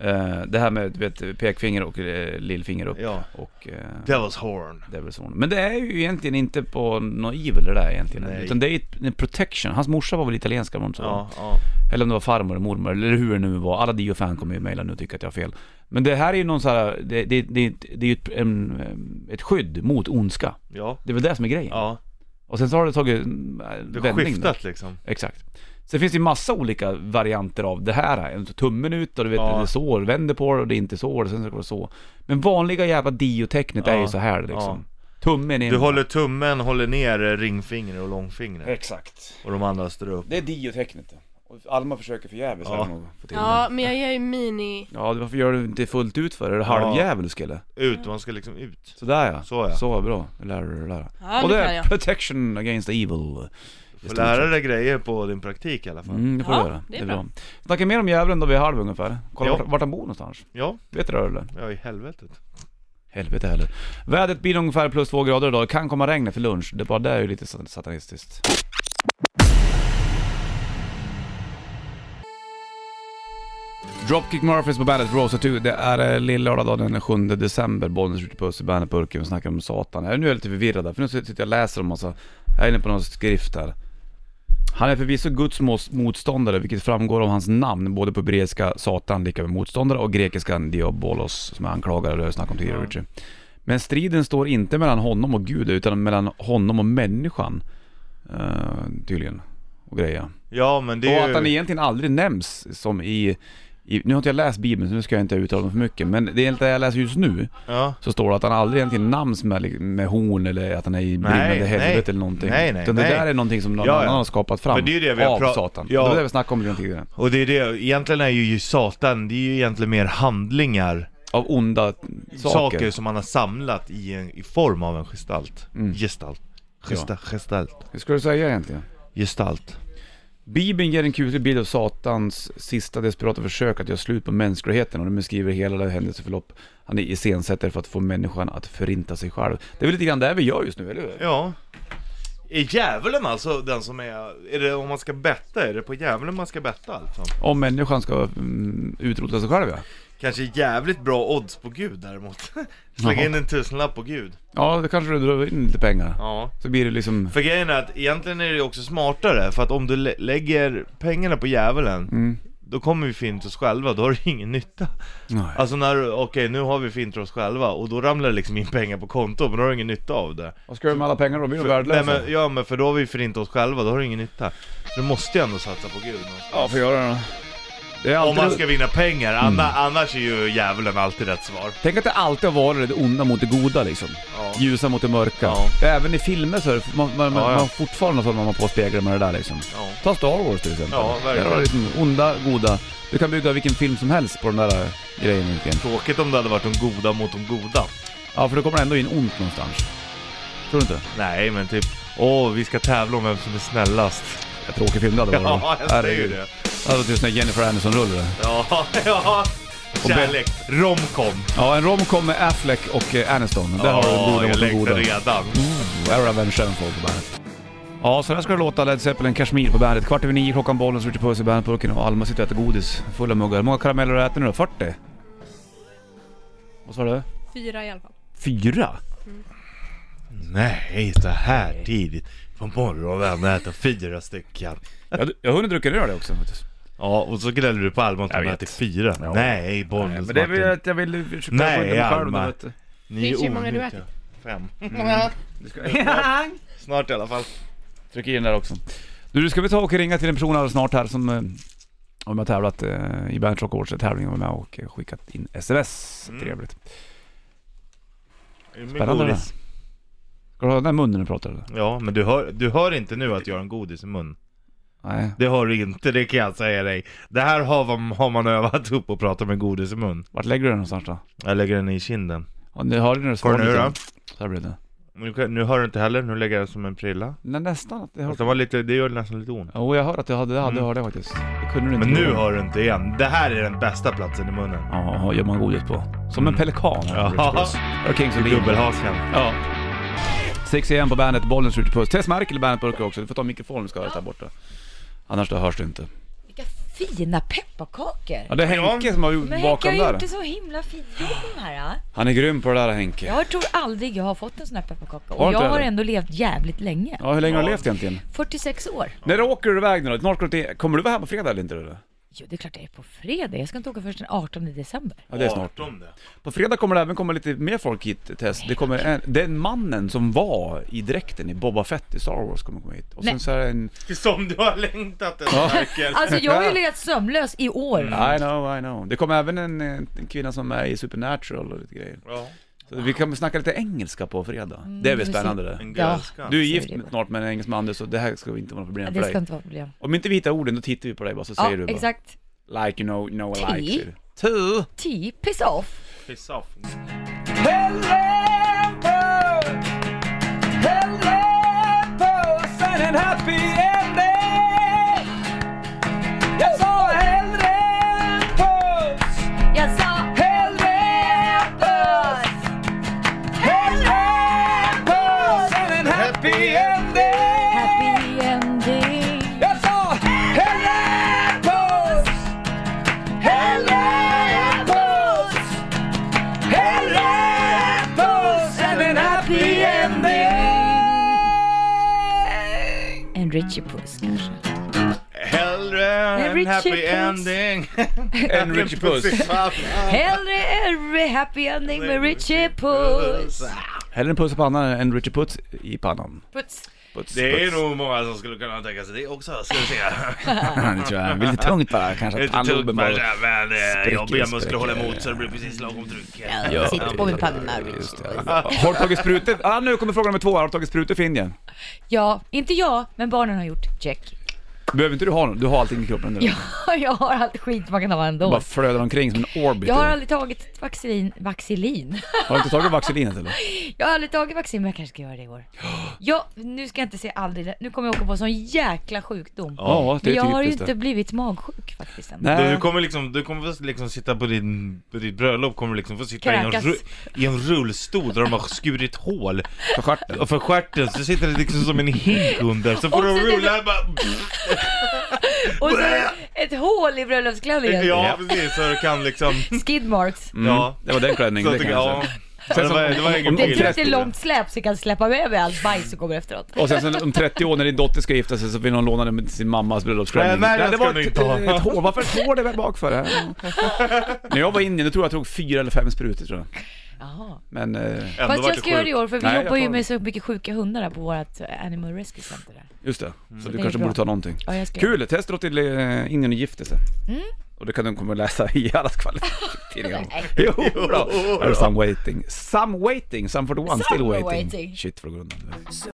[SPEAKER 1] Eh, det här med du vet, pekfinger och eh, lillfinger upp
[SPEAKER 2] Ja.
[SPEAKER 1] och eh,
[SPEAKER 2] Devil's Horn.
[SPEAKER 1] Devil's Horn. Men det är ju egentligen inte på något evil det där egentligen.
[SPEAKER 2] Nej.
[SPEAKER 1] Utan det är ett- en protection. Hans morsa var väl italienska var hon så?
[SPEAKER 2] Ja, ja.
[SPEAKER 1] Eller om det var farmor och mormor eller hur det nu var. Alla Dio-fan kommer ju mejla nu och tycker att jag har fel. Men det här är ju någon så här, det, det, det, det är ju ett, en, ett skydd mot ondska.
[SPEAKER 2] Ja.
[SPEAKER 1] Det är väl det som är grejen.
[SPEAKER 2] Ja,
[SPEAKER 1] Och sen så har det tagit eh,
[SPEAKER 2] det
[SPEAKER 1] vändning
[SPEAKER 2] har
[SPEAKER 1] där.
[SPEAKER 2] skiftat liksom.
[SPEAKER 1] Exakt. Sen finns det ju massa olika varianter av det här. En Tummen ut och du vet,
[SPEAKER 2] Ja.
[SPEAKER 1] det är så, du vänder på det och det är inte så och sen så går det så. Men vanliga jävla diotecknet är
[SPEAKER 2] Ja.
[SPEAKER 1] ju så här liksom. Tummen in.
[SPEAKER 2] Du håller tummen, håller ner eh, ringfingret och
[SPEAKER 1] Eh.
[SPEAKER 2] långfingret.
[SPEAKER 1] Exakt.
[SPEAKER 2] Och de andra står upp.
[SPEAKER 1] Det är diotecknet. Och Alma försöker förgäves
[SPEAKER 2] Ja.
[SPEAKER 1] här nog få till
[SPEAKER 4] Ja,
[SPEAKER 1] ja.
[SPEAKER 4] men jag gör ju mini...
[SPEAKER 1] ja, varför gör du inte fullt ut för det? Är du halvdjävulsk eller?
[SPEAKER 2] Ut, man ska liksom ut.
[SPEAKER 1] Sådär ja.
[SPEAKER 2] Så ja.
[SPEAKER 1] Så bra. Det lär du dig lära.
[SPEAKER 4] Ja,
[SPEAKER 1] och
[SPEAKER 4] nu
[SPEAKER 1] det
[SPEAKER 4] kan
[SPEAKER 1] är
[SPEAKER 4] jag.
[SPEAKER 1] Protection Against Evil.
[SPEAKER 2] Får lära dig grejer på din praktik i alla fall.
[SPEAKER 1] Mm, det får du
[SPEAKER 3] Ja,
[SPEAKER 1] göra.
[SPEAKER 3] det
[SPEAKER 1] Det
[SPEAKER 3] är
[SPEAKER 1] är
[SPEAKER 3] bra.
[SPEAKER 1] bra. Snacka mer om djävulen då vid halv ungefär. Kolla
[SPEAKER 2] Ja.
[SPEAKER 1] vart- vart han bor någonstans.
[SPEAKER 2] Ja,
[SPEAKER 1] Vet du det eller?
[SPEAKER 2] ja i helvetet.
[SPEAKER 1] Helvete heller. Vädret blir ungefär plus två grader idag. Kan komma regn efter lunch. Det bara det är ju lite sat- satanistiskt. Dropkick Murphys på bandet Rosa 2. Det är eh, lill-lördag då, den 7 december. Bollnäs skjuter puss i bandetburken och snackar om Satan. Jag är nu lite förvirrad där, för nu sitter jag och läser om massa... Jag är inne på någon skrift här. Han är förvisso Guds mos- motståndare, vilket framgår av hans namn, både på hebreiska Satan, lika med motståndare, och grekiskan Diabolos, som är anklagad, och det har jag snackat om tidigare Richie. Men striden står inte mellan honom och Gud, utan mellan honom och människan. eh, tydligen. Och grejer.
[SPEAKER 2] Ja men det
[SPEAKER 1] Och
[SPEAKER 2] är
[SPEAKER 1] att
[SPEAKER 2] ju...
[SPEAKER 1] han egentligen aldrig nämns som i, i... Nu har inte jag läst Bibeln, så nu ska jag inte uttala mig för mycket, men det är inte det jag läser just nu.
[SPEAKER 2] Ja.
[SPEAKER 1] Så står det att han aldrig egentligen namns med, liksom, med horn eller att han är i brinnande
[SPEAKER 2] nej.
[SPEAKER 1] helvete eller någonting.
[SPEAKER 2] Nej, nej,
[SPEAKER 1] Utan det
[SPEAKER 2] nej.
[SPEAKER 1] där är någonting som någon
[SPEAKER 2] Ja, ja.
[SPEAKER 1] annan har skapat fram
[SPEAKER 2] Men det är ju det vi har
[SPEAKER 1] av
[SPEAKER 2] pra-
[SPEAKER 1] Satan.
[SPEAKER 2] Ja.
[SPEAKER 1] Det var det vi snackade om lite tidigare.
[SPEAKER 2] Och det är det, egentligen är ju Satan, det är ju egentligen mer handlingar,
[SPEAKER 1] Av onda
[SPEAKER 2] saker,
[SPEAKER 1] saker.
[SPEAKER 2] som han har samlat i, en, i form av en gestalt.
[SPEAKER 1] Mm.
[SPEAKER 2] Gestalt. Gesta, Gestalt.
[SPEAKER 1] Hur skulle du säga egentligen?
[SPEAKER 2] Gestalt.
[SPEAKER 1] Bibeln ger en kuslig bild av Satans sista desperata försök att göra slut på mänskligheten och den beskriver hela det händelseförlopp han iscensätter för att få människan att förinta sig själv. Det är väl lite grann det vi gör just nu, eller hur?
[SPEAKER 2] Ja. Är djävulen alltså den som är, är det om man ska betta, är det på djävulen man ska betta alltså?
[SPEAKER 1] Om människan ska mm, utrota sig själv ja.
[SPEAKER 2] Kanske jävligt bra odds på Gud däremot. Slänga
[SPEAKER 1] Jaha.
[SPEAKER 2] in en tusenlapp på Gud.
[SPEAKER 1] Ja, då kanske du drar in lite pengar.
[SPEAKER 2] Ja.
[SPEAKER 1] Så blir det liksom...
[SPEAKER 2] För grejen är att egentligen är det ju också smartare, för att om du lä- lägger pengarna på djävulen,
[SPEAKER 1] Mm.
[SPEAKER 2] då kommer vi finna oss själva, då har du ingen nytta.
[SPEAKER 1] Nej.
[SPEAKER 2] Alltså när, du- okej nu har vi fint för oss själva och då ramlar det liksom in pengar på kontot men då har du ingen nytta av det.
[SPEAKER 1] Vad ska du göra med alla pengar då? Blir du
[SPEAKER 2] För- nej,
[SPEAKER 1] värdelös?
[SPEAKER 2] men, ja men för då har vi förintat oss själva, då har du ingen nytta. Så du måste ju ändå satsa på Gud någonstans.
[SPEAKER 1] Ja, får göra det då. Det är
[SPEAKER 2] Om
[SPEAKER 1] alltid...
[SPEAKER 2] man ska vinna pengar, anna,
[SPEAKER 1] Mm.
[SPEAKER 2] annars är ju djävulen alltid rätt svar.
[SPEAKER 1] Tänk att det alltid har varit det onda mot det goda liksom.
[SPEAKER 2] Ja.
[SPEAKER 1] Ljusa mot det mörka.
[SPEAKER 2] Ja.
[SPEAKER 1] Även i filmer så är det, man, man,
[SPEAKER 2] Ja, ja.
[SPEAKER 1] man fortfarande har man på speglar med det där liksom.
[SPEAKER 2] Ja.
[SPEAKER 1] Ta Star Wars till exempel.
[SPEAKER 2] Ja, verkligen.
[SPEAKER 1] Där har du liksom onda, goda. Du kan bygga vilken film som helst på den där eh, grejen egentligen.
[SPEAKER 2] Tråkigt om det hade varit de goda mot de goda.
[SPEAKER 1] Ja, för då kommer det ändå in ont någonstans. Tror du inte?
[SPEAKER 2] Nej men typ, åh vi ska tävla om vem som är snällast.
[SPEAKER 1] Ja, Tråkig film det hade varit.
[SPEAKER 2] Ja, jag säger ju
[SPEAKER 1] Herregud.
[SPEAKER 2] det.
[SPEAKER 1] Det hade varit en sån där Jennifer Aniston-rulle.
[SPEAKER 2] Ja, ja.
[SPEAKER 1] Och Ben-
[SPEAKER 2] Kärlek. Romcom.
[SPEAKER 1] Ja, en romcom med Affleck och eh, Aniston. Där har du
[SPEAKER 2] Åh,
[SPEAKER 1] goda
[SPEAKER 2] jag
[SPEAKER 1] mot de
[SPEAKER 2] längtar
[SPEAKER 1] goda.
[SPEAKER 2] redan.
[SPEAKER 1] Wear Revenge Sevenfold på bandet. Ja, så där ska det låta Led Zeppelin Kashmir på bandet. Kvart över nio, klockan bollen, så Ritchie Puss i bandetburken och Alma sitter och äter godis. Fulla muggar. Hur många karameller har du ätit nu då? 40? Vad sa du?
[SPEAKER 3] Fyra i alla fall.
[SPEAKER 1] Fyra?
[SPEAKER 2] Nej, så här tidigt på morgonen äta fyra stycken.
[SPEAKER 1] Jag, jag har hunnit dricka en öl också. vet du.
[SPEAKER 2] Ja, och så gnäller du på Alma att
[SPEAKER 1] Jag
[SPEAKER 2] hon
[SPEAKER 1] vet.
[SPEAKER 2] äter fyra.
[SPEAKER 1] Ja.
[SPEAKER 2] Nej, Bollnäs
[SPEAKER 1] Men det är väl
[SPEAKER 2] Martin.
[SPEAKER 1] att jag vill försöka
[SPEAKER 2] Nej,
[SPEAKER 1] skydda mig själv
[SPEAKER 2] Alma.
[SPEAKER 1] nu, vet du.
[SPEAKER 2] Ni är
[SPEAKER 4] Finns ju många du
[SPEAKER 2] onyttiga. Fem. Mm.
[SPEAKER 1] Du ska-
[SPEAKER 2] Snart i alla fall.
[SPEAKER 1] Tryck in där också. Du, ska vi ta och ringa till en person alldeles snart här som eh, om jag tävlat eh, i Bandet Rock Awards tävlingen var med och eh, skickat in sms.
[SPEAKER 2] Mm.
[SPEAKER 1] Trevligt.
[SPEAKER 2] Är det med
[SPEAKER 1] Spännande
[SPEAKER 2] godis?
[SPEAKER 1] Ska du ha den där munnen när du pratar eller?
[SPEAKER 2] Ja, men du hör, du hör inte nu att jag har en godis i mun.
[SPEAKER 1] Nej.
[SPEAKER 2] Det hör du inte, det kan jag säga dig. Det här har man, har man övat upp att prata med godis i mun.
[SPEAKER 1] Vart lägger du den någonstans då?
[SPEAKER 2] Jag lägger den i kinden.
[SPEAKER 1] Ja, nu hörde ni när du
[SPEAKER 2] Ska du
[SPEAKER 1] svarade
[SPEAKER 2] nu
[SPEAKER 1] lite.
[SPEAKER 2] då?
[SPEAKER 1] Så här blir det.
[SPEAKER 2] Men Nu, kan- nu hör du inte heller, nu lägger jag den som en prilla.
[SPEAKER 1] Nej, nästan att det
[SPEAKER 2] Fast
[SPEAKER 1] hörde...
[SPEAKER 2] Det, var lite, det gör nästan lite ont.
[SPEAKER 1] Jo, jag hörde att du hade, det hade,
[SPEAKER 2] Mm.
[SPEAKER 1] hörde jag faktiskt. Det kunde du inte.
[SPEAKER 2] Men nu
[SPEAKER 1] göra.
[SPEAKER 2] hör du inte igen. Det här är den bästa platsen i munnen.
[SPEAKER 1] Ja, gör man godis på. Som en
[SPEAKER 2] Mm.
[SPEAKER 1] pelikan.
[SPEAKER 2] Ja.
[SPEAKER 1] Här är Kings of Leon.
[SPEAKER 2] Dubbelhakan.
[SPEAKER 1] Ja. 6 igen på bandet, bollen skjuter puss. Tess Merkel i bandetburken också. Du får ta mikrofonen om du ska höra det här borta. Annars då hörs du inte.
[SPEAKER 6] Vilka fina pepparkakor!
[SPEAKER 1] Ja, det är
[SPEAKER 2] Ja.
[SPEAKER 1] Henke som har gjort
[SPEAKER 6] Men Henke
[SPEAKER 1] bakom
[SPEAKER 6] har gjort
[SPEAKER 1] där.
[SPEAKER 6] det så himla fint jobb med de här. ah.
[SPEAKER 1] Han är grym på det där Henke. Ja,
[SPEAKER 6] Jag tror aldrig jag har fått en sån här pepparkaka.
[SPEAKER 1] Har
[SPEAKER 6] Och
[SPEAKER 1] inte
[SPEAKER 6] jag har
[SPEAKER 1] det?
[SPEAKER 6] ändå levt jävligt länge.
[SPEAKER 1] hur länge har du
[SPEAKER 2] Ja.
[SPEAKER 1] levt egentligen?
[SPEAKER 6] 46 år.
[SPEAKER 1] När åker du iväg nu då? Snart går du till... Kommer du vara här på fredag eller inte? Eller?
[SPEAKER 6] Jo, det är klart jag är på fredag. Jag ska inte åka först den 18 december.
[SPEAKER 1] Ja, det är snart. På fredag kommer det även komma lite mer folk hit, Tess. Det kommer en, den mannen som var i dräkten i Boba Fett i Star Wars kommer komma hit. Och sen
[SPEAKER 6] Nej.
[SPEAKER 1] så är det en...
[SPEAKER 2] Som du har längtat en Michael.
[SPEAKER 6] Alltså jag har ju legat sömnlös i år.
[SPEAKER 1] I know, I know. Det kommer även en, eh, en kvinna som är i Supernatural och lite grejer.
[SPEAKER 2] Ja,
[SPEAKER 1] Så vi kommer snacka lite engelska på fredag. det blir
[SPEAKER 6] Mm, vi får se.
[SPEAKER 1] spännande det.
[SPEAKER 2] en
[SPEAKER 6] Ja.
[SPEAKER 2] gröska.
[SPEAKER 1] Du är
[SPEAKER 6] Så
[SPEAKER 1] gift
[SPEAKER 6] är det.
[SPEAKER 1] snart med en engelsman du, så det här ska inte vara något problem
[SPEAKER 6] Ja,
[SPEAKER 1] för
[SPEAKER 6] Det ska
[SPEAKER 1] dig.
[SPEAKER 6] inte vara problem.
[SPEAKER 1] Om inte vi hittar orden då tittar vi på dig bara så säger
[SPEAKER 6] Ja,
[SPEAKER 1] du bara
[SPEAKER 6] exakt.
[SPEAKER 1] Like you know, no I
[SPEAKER 6] Ti.
[SPEAKER 1] like you. Two.
[SPEAKER 6] T, piss off.
[SPEAKER 2] Piss off.
[SPEAKER 1] Hello, hello, and happy
[SPEAKER 6] Richie Puss kanske.
[SPEAKER 2] Hellre
[SPEAKER 6] Nej,
[SPEAKER 2] en
[SPEAKER 6] Richie
[SPEAKER 2] happy
[SPEAKER 6] Puss.
[SPEAKER 2] ending
[SPEAKER 1] En Richie Puss.
[SPEAKER 6] Hellre every happy ending med Richie Puss.
[SPEAKER 1] Hellre en puss i pannan än Richie Puss i pannan.
[SPEAKER 6] Puts.
[SPEAKER 1] Puts,
[SPEAKER 2] Det är nog många som skulle kunna tänka sig det också, ska vi se.
[SPEAKER 1] det tror jag. Det blir lite tungt bara
[SPEAKER 2] Det
[SPEAKER 1] kanske. att
[SPEAKER 2] är Lite tungt
[SPEAKER 1] pannloben
[SPEAKER 2] men,
[SPEAKER 1] bara-
[SPEAKER 2] men eh,
[SPEAKER 1] spricker,
[SPEAKER 2] jobbiga muskler
[SPEAKER 1] spricker.
[SPEAKER 2] håller emot så det blir precis lagom tryck.
[SPEAKER 1] Ja,
[SPEAKER 6] Sitter på min panna,
[SPEAKER 1] just det. Har du tagit sprutor? Ah, nu kommer fråga nummer två. Har du tagit sprutor för Indien?
[SPEAKER 6] Ja, inte jag, men barnen har gjort check.
[SPEAKER 1] Behöver inte du ha någon? Du har allting i kroppen nu.
[SPEAKER 6] Ja, jag har allt skit man kan ha
[SPEAKER 1] Du
[SPEAKER 6] ändå.
[SPEAKER 1] bara flödar omkring som en orbiter.
[SPEAKER 6] Jag har aldrig tagit vaccin, vaccilin.
[SPEAKER 1] Har du inte tagit vaccinet eller?
[SPEAKER 6] Jag har aldrig tagit vaccin men jag kanske ska göra det i år. Ja, nu ska jag inte säga aldrig, nu kommer jag åka på en sån jäkla sjukdom.
[SPEAKER 1] Ja, det
[SPEAKER 6] Men
[SPEAKER 1] är
[SPEAKER 6] jag har ju
[SPEAKER 1] typiskt det.
[SPEAKER 6] inte blivit magsjuk faktiskt än.
[SPEAKER 1] Nej.
[SPEAKER 2] Du, du kommer liksom, du kommer få liksom sitta på din, på ditt bröllop, kommer liksom få sitta i en,
[SPEAKER 6] Kräkas.
[SPEAKER 2] ru, i en rullstol där de har skurit hål
[SPEAKER 1] För stjärten.
[SPEAKER 2] för stjärten, så sitter det liksom som en hink under, så får
[SPEAKER 6] Och
[SPEAKER 2] du
[SPEAKER 6] så-
[SPEAKER 2] rulla bara...
[SPEAKER 6] Och så ett hål i bröllopsklänningen.
[SPEAKER 2] Ja precis, så du kan liksom,
[SPEAKER 6] Skidmarks.
[SPEAKER 1] Mm.
[SPEAKER 2] ja.
[SPEAKER 1] Det var den klänningen,
[SPEAKER 2] Så
[SPEAKER 1] det
[SPEAKER 2] att
[SPEAKER 1] kan jag säga.
[SPEAKER 2] du, ja. Ja, det var, det var ingen
[SPEAKER 1] om- om-
[SPEAKER 6] Det
[SPEAKER 1] Oj,
[SPEAKER 6] är tur
[SPEAKER 2] bild.
[SPEAKER 6] att det är långt släp så jag kan släppa med mig allt bajs som kommer efteråt.
[SPEAKER 1] Och sen, sen om 30 år när din dotter ska gifta sig så vill någon låna den med sin mammas bröllopsklänning.
[SPEAKER 2] Nej, nej, den
[SPEAKER 1] det
[SPEAKER 2] ska
[SPEAKER 1] var
[SPEAKER 2] du
[SPEAKER 1] ett,
[SPEAKER 2] inte ha.
[SPEAKER 1] ett hår. Varför ett hår där bak för? Det? När jag var i Indien, då tror jag jag tog fyra eller fem sprutor tror jag.
[SPEAKER 6] Jaha.
[SPEAKER 1] Men... Eh,
[SPEAKER 2] Ändå
[SPEAKER 6] Fast
[SPEAKER 2] vart
[SPEAKER 6] jag
[SPEAKER 2] det
[SPEAKER 6] ska göra det i
[SPEAKER 2] sjukt.
[SPEAKER 6] år för vi
[SPEAKER 1] Nej, jag
[SPEAKER 6] jobbar ju
[SPEAKER 1] tar-
[SPEAKER 6] med så mycket sjuka hundar här på vårt eh, Animal Rescue Center där.
[SPEAKER 1] Just det, så du
[SPEAKER 6] det är
[SPEAKER 1] kanske
[SPEAKER 6] bra.
[SPEAKER 1] borde ta någonting.
[SPEAKER 6] Ja, jag ska göra
[SPEAKER 1] Kul, testa då till eh, Indien och gifte sig. Och det kan du komma att läsa i alla skvallertidningar. jo, bra. There's some waiting. Some waiting, some for the one,
[SPEAKER 6] Some
[SPEAKER 1] still
[SPEAKER 6] were
[SPEAKER 1] waiting.
[SPEAKER 6] waiting.
[SPEAKER 1] Shit för grunden.